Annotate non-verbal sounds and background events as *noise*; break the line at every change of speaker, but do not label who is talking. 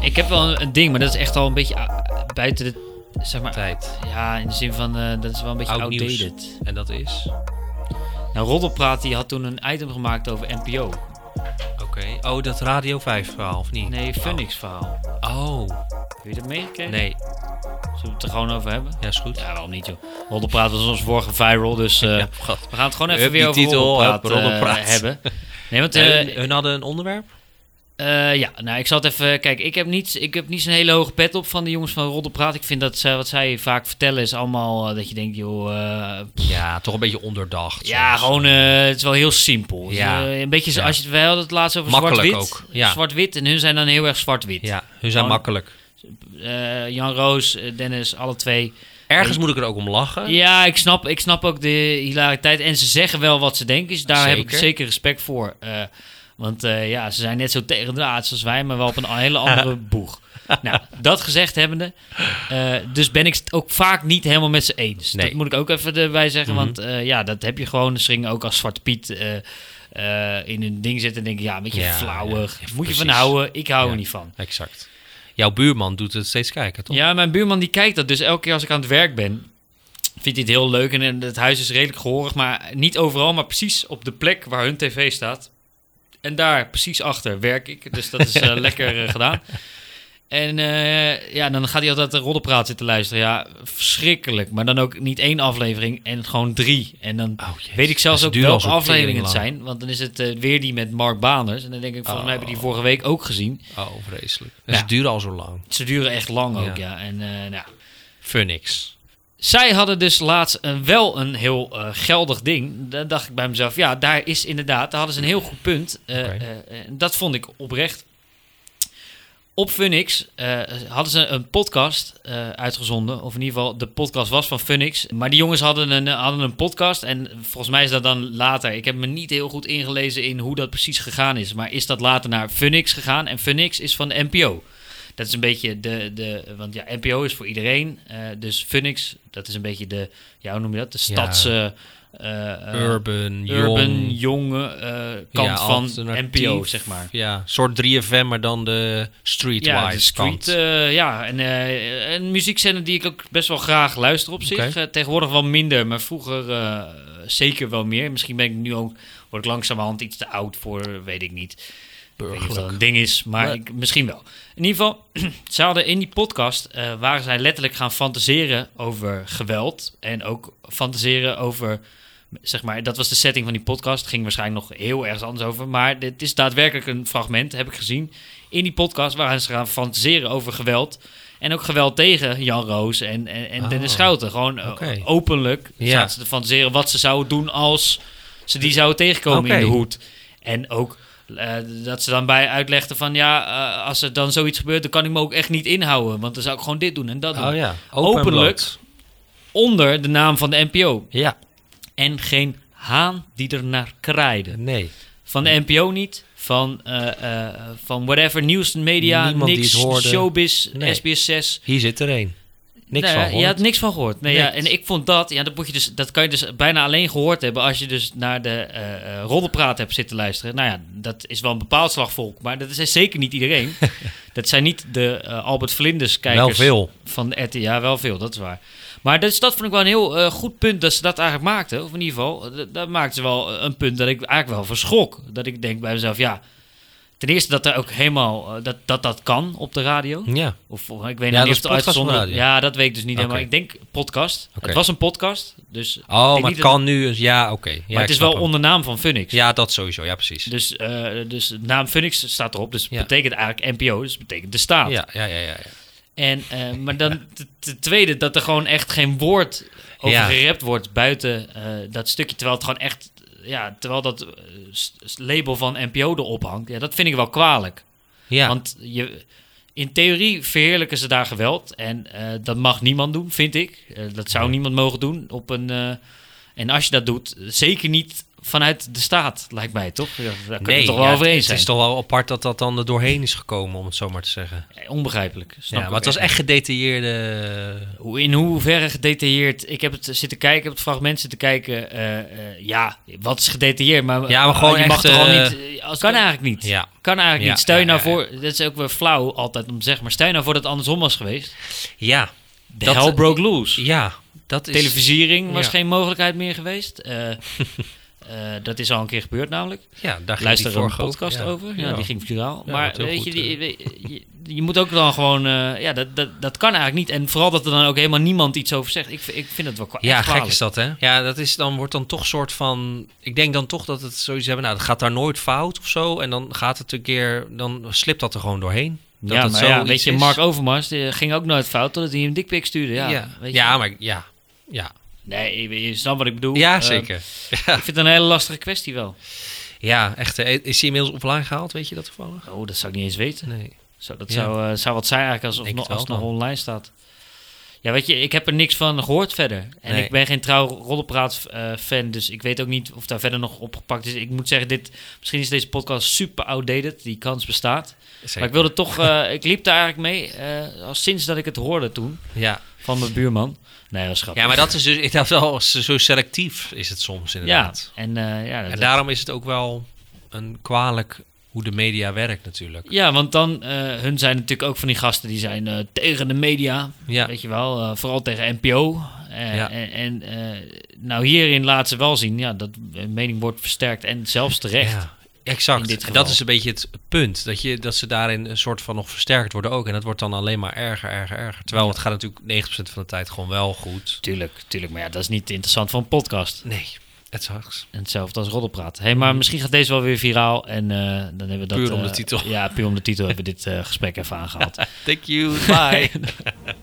Ik heb wel een, een ding, maar dat is echt al een beetje ah, buiten de. Zeg maar,
Tijd.
Ja, in de zin van eh, dat is wel een beetje
Oud nieuws.
outdated.
En dat is?
Nou, Roddelpraat die had toen een item gemaakt over NPO.
Oké. Oh, dat Radio 5 verhaal, of niet?
Nee, Phoenix verhaal.
Oh, Oh,
Heb je dat meegekregen?
nee.
Zullen we het er gewoon over hebben?
Ja, is goed.
Ja, waarom niet joh. Roddelpraat was ons vorige viral, dus eh,
*laughs* Ja, god.
we gaan het gewoon even
Hup,
weer
die
over
titel,
roddelpraat,
hup, roddelpraat.
eh, hebben. Nee, want eh,
Hun- hun hadden een onderwerp?
Eh, ja, nou, ik zal het even... Kijk, ik heb niet, ik heb niet zo'n hele hoge pet op van de jongens van Roddelpraat. Ik vind dat ze, wat zij vaak vertellen is allemaal eh, dat je denkt, joh... eh,
Ja, toch een beetje onderdacht.
ja,
soms.
gewoon, eh, het is wel heel simpel.
Ja.
Eh, een beetje, zo-
Ja.
als je het, wij hadden het laatst over
Makkelijk
zwart-wit.
ook, ja.
Zwart-wit, en hun zijn dan heel erg zwart-wit.
Ja, hun zijn
Gewoon-
makkelijk.
Eh, Jan Roos, eh, Dennis, alle twee.
Ergens moet ik er ook om lachen.
Ja, ik snap, ik snap ook de hilariteit. En ze zeggen wel wat ze denken. Dus daar heb ik
Zeker.
zeker respect voor. Eh, want eh, ja, ze zijn net zo tegendraads als wij, maar wel op een hele
*laughs*
andere boeg. Nou, dat gezegd hebbende, eh, dus ben ik het ook vaak niet helemaal met ze eens.
Nee. Mhm.
Dat moet ik ook even erbij zeggen, want eh, ja, dat heb je gewoon. Ze gingen ook als Zwarte Piet eh, eh, in een ding zitten en denken, ja, een beetje
Ja,
flauwig.
ja, ja,
moet je van
precies.
houden, ik hou
Ja.
er niet van.
Exact. Jouw buurman doet het steeds kijken, toch?
Ja, mijn buurman die kijkt dat. Dus elke keer als ik aan het werk ben, vindt hij het heel leuk. En eh, het huis is redelijk gehoorig, maar niet overal, maar precies op de plek waar hun tv staat. En daar, precies achter, werk ik. Dus dat is eh,
*laughs*
lekker eh, gedaan. En eh, ja, dan gaat hij altijd de roddelpraat zitten luisteren. Ja, verschrikkelijk. Maar dan ook niet één aflevering en gewoon drie. En dan
Oh, jezus.
weet ik zelfs
Dat
ook
duurt al
welke
zo'n
afleveringen het
tering
zijn. Want dan is het eh, weer die met Mark Baners. En dan denk ik, volgens
Oh.
mij hebben die vorige week ook gezien.
lang. Oh, vreselijk. Dus
Ja.
het duurde al zo lang.
Ze duren echt lang ook,
Ja.
ja. En eh, nou,
Phoenix.
Zij hadden dus laatst een, wel een heel eh, geldig ding. Dan dacht ik bij mezelf, ja, daar is inderdaad, daar hadden ze een heel goed punt. Eh,
Oké.
eh, eh, dat vond ik oprecht. Op Funix eh, hadden ze een podcast eh, uitgezonden. Of in ieder geval, de podcast was van Funix. Maar die jongens hadden een, eh, hadden een podcast. En volgens mij is dat dan later. Ik heb me niet heel goed ingelezen in hoe dat precies gegaan is. Maar is dat later naar Funix gegaan? En Funix is van de NPO. Dat is een beetje de. de want ja, NPO is voor iedereen. eh, dus Funix, dat is een beetje de. Ja, hoe noem je dat? De stads. eh, eh, eh,
urban,
urban,
jong.
jonge eh, kant
Ja,
van
alternatief.
NPO, zeg maar.
Ja, soort 3FM, maar dan de streetwise
Ja, de street,
kant.
eh, ja, en eh, een muziekzender die ik ook best wel graag luister op zich.
Oké.
Eh, tegenwoordig wel minder, maar vroeger eh, zeker wel meer. Misschien ben ik nu ook, word ik langzamerhand iets te oud voor, weet ik niet. Ik weet niet of dat een ding is, maar
Maar-
ik, misschien wel. In ieder geval, *clears throat* ze hadden in die podcast, eh, waren zij letterlijk gaan fantaseren over geweld. En ook fantaseren over, zeg maar, dat was de setting van die podcast. Ging waarschijnlijk nog heel ergens anders over. Maar dit is daadwerkelijk een fragment, heb ik gezien. In die podcast waren ze gaan fantaseren over geweld. En ook geweld tegen Jan Roos en, en, en Dennis
Oh,
Schouten. Gewoon eh,
oké.
openlijk
Ja.
zaten ze te fantaseren wat ze zouden doen als ze die zouden tegenkomen in de
Oké.
hoed. En ook eh, dat ze dan bij uitlegden van ja, eh, als er dan zoiets gebeurt, dan kan ik me ook echt niet inhouden. Want dan zou ik gewoon dit doen en dat doen.
Oh ja,
Openlijk.
openlijk.
Onder de naam van de NPO.
Ja,
En geen haan die er naar kraaide.
nee.
Van de NPO niet. Van, eh, eh, van whatever, nieuws, media,
Niemand die
niks,
het hoorde.
showbiz,
Nee.
SBS 6.
Hier zit er één.
Nou
Niks
ja,
van
Je
gehoord.
had niks van gehoord. Nee, ja,
Niks.
en ik vond dat, ja, dat, moet je dus, dat kan je dus bijna alleen gehoord hebben als je dus naar de eh eh, roddelpraat hebt zitten luisteren. Nou ja, dat is wel een bepaald slagvolk, maar dat is zeker niet
*laughs*
iedereen. dat zijn niet de eh, Albert Vlinders kijkers.
Wel veel.
Van de RTL, ja, wel veel, dat is waar. Maar dus, dat vond ik wel een heel eh, goed punt dat ze dat eigenlijk maakten. Of in ieder geval, eh, dat- dat maakten ze wel eh, een punt dat ik eigenlijk wel verschrok. Dat ik denk bij mezelf, ja, ten eerste dat er ook helemaal, eh, dat, dat dat kan op de radio.
Ja,
Of of- ik weet
Ja,
nog niet
dat
of
is
het
podcast
uitgezonden
van radio.
Ja, dat weet ik dus niet
Oké.
helemaal. Ik denk podcast.
Oké.
Het was een podcast, dus... ik
oh,
denk
maar
niet
het
dat-
kan nu. Ja, oké. Ja,
maar
ik
het is
snap
wel
hem.
onder naam van Funix.
Ja, dat sowieso. Ja, precies.
Dus, eh, dus de naam Funix staat erop, dus
Ja.
het betekent eigenlijk NPO, dus het betekent de staat.
ja, ja, ja, ja. ja.
En, eh, maar dan
*laughs*
ten ten tweede dat er gewoon echt geen woord over
Ja.
gerept wordt buiten eh, dat stukje. Terwijl het gewoon echt, ja, terwijl dat eh, s- s- label van NPO erop hangt. Ja, dat vind ik wel kwalijk.
Ja,
Want je, in theorie verheerlijken ze daar geweld. En eh, dat mag niemand doen, vind ik. Eh, dat zou niemand mogen doen op een. eh, En als je dat doet, zeker niet vanuit de staat, lijkt mij toch? Ja, Daar kunnen we het toch
ja,
wel over eens
het
zijn.
is toch wel apart dat dat dan er doorheen is gekomen, om het zo maar te zeggen.
Eh, Onbegrijpelijk. Snap
Ja,
ik
maar het
ook
was echt gedetailleerde...
Hoe- In hoeverre gedetailleerd? Ik heb het zitten kijken, ik heb het fragment zitten kijken. eh, eh, ja, wat is gedetailleerd? Maar, oh,
Ja, maar gewoon
je mag
echt,
toch al
eh,
niet. als- kan eigenlijk niet.
Ja.
Kan eigenlijk
Ja,
niet. Stel je
ja,
nou
ja,
voor, dat is ook weer flauw altijd om te zeggen, maar stel je nou voor dat het andersom was geweest.
Ja,
De
Dat-
hell broke loose.
ja, dat is...
Televisiering was
ja.
geen mogelijkheid meer geweest. Eh, *laughs* eh, dat is al een keer gebeurd namelijk.
Ja, daar ging
Luister
die
er een
vorige ook,
podcast
ja.
over. Ja, die ging viraal.
Ja,
maar
wat heel
weet
goed, eh.
je, die, je, je moet ook dan gewoon... eh, ja, dat, dat, dat kan eigenlijk niet. En vooral dat er dan ook helemaal niemand iets over zegt. Ik, vind- ik vind het wel kwa-
Ja,
echt
gek
kwalijk.
is dat, hè? Ja, dat is dan, wordt dan toch soort van... Ik denk dan toch dat het zoiets hebben... Nou, het gaat daar nooit fout of zo. En dan gaat het een keer... Dan slipt dat er gewoon doorheen. Dat
ja,
het
maar ja,
zoiets
weet je,
is.
Mark Overmars die ging ook nooit fout totdat hij een dikpik stuurde. Ja,
Ja, ja.
Weet je.
maar ja. Ja,
Nee, je, je snapt wat ik bedoel.
ja
Eh,
zeker.
ik vind het een hele lastige kwestie wel.
Ja, echt. eh, Is hij inmiddels offline gehaald? Weet je dat toevallig?
Oh, dat zou ik niet eens weten.
Nee.
Zo, dat
Ja.
zou, eh, zou wat zijn eigenlijk als,
Denk
nog,
het wel
als het nog
dan.
online staat. Ja, weet je, ik heb er niks van gehoord verder. En
Nee.
ik ben geen trouw rollenpraat-fan, dus ik weet ook niet of daar verder nog opgepakt is. Ik moet zeggen, dit, misschien is deze podcast super outdated, die kans bestaat. Maar ik wilde toch, eh, *laughs* ik liep daar eigenlijk mee, eh, al sinds dat ik het hoorde toen,
Ja.
van mijn buurman. Nee, dat is grappig.
ja, maar dat is dus... Ik dacht wel, zo selectief is het soms
Ja,
inderdaad.
en, eh, ja, dat-
En daarom is het ook wel een kwalijk hoe de media werkt natuurlijk.
ja, want dan, eh, hun zijn natuurlijk ook van die gasten die zijn eh, tegen de media,
Ja,
Weet je wel, eh, vooral tegen NPO. Eh,
Ja.
En, en eh, nou, hierin laat ze wel zien ja, dat een mening wordt versterkt en zelfs terecht. Ja,
Ja, exact.
In dit
En
geval.
dat is een beetje het punt. Dat, je, dat ze daarin een soort van nog versterkt worden ook. En dat wordt dan alleen maar erger, erger, erger. Terwijl het gaat natuurlijk 90% van de tijd gewoon wel goed.
tuurlijk, tuurlijk. Maar ja, dat is niet interessant voor een podcast.
Nee, het zags.
En hetzelfde als roddelpraat. hey, maar misschien gaat deze wel weer viraal. En eh, dan hebben we dat...
Mm. Puur om de
eh,
titel.
Ja, puur om de titel hebben we dit eh, gesprek even aangehaald. *laughs*
Thank you, bye.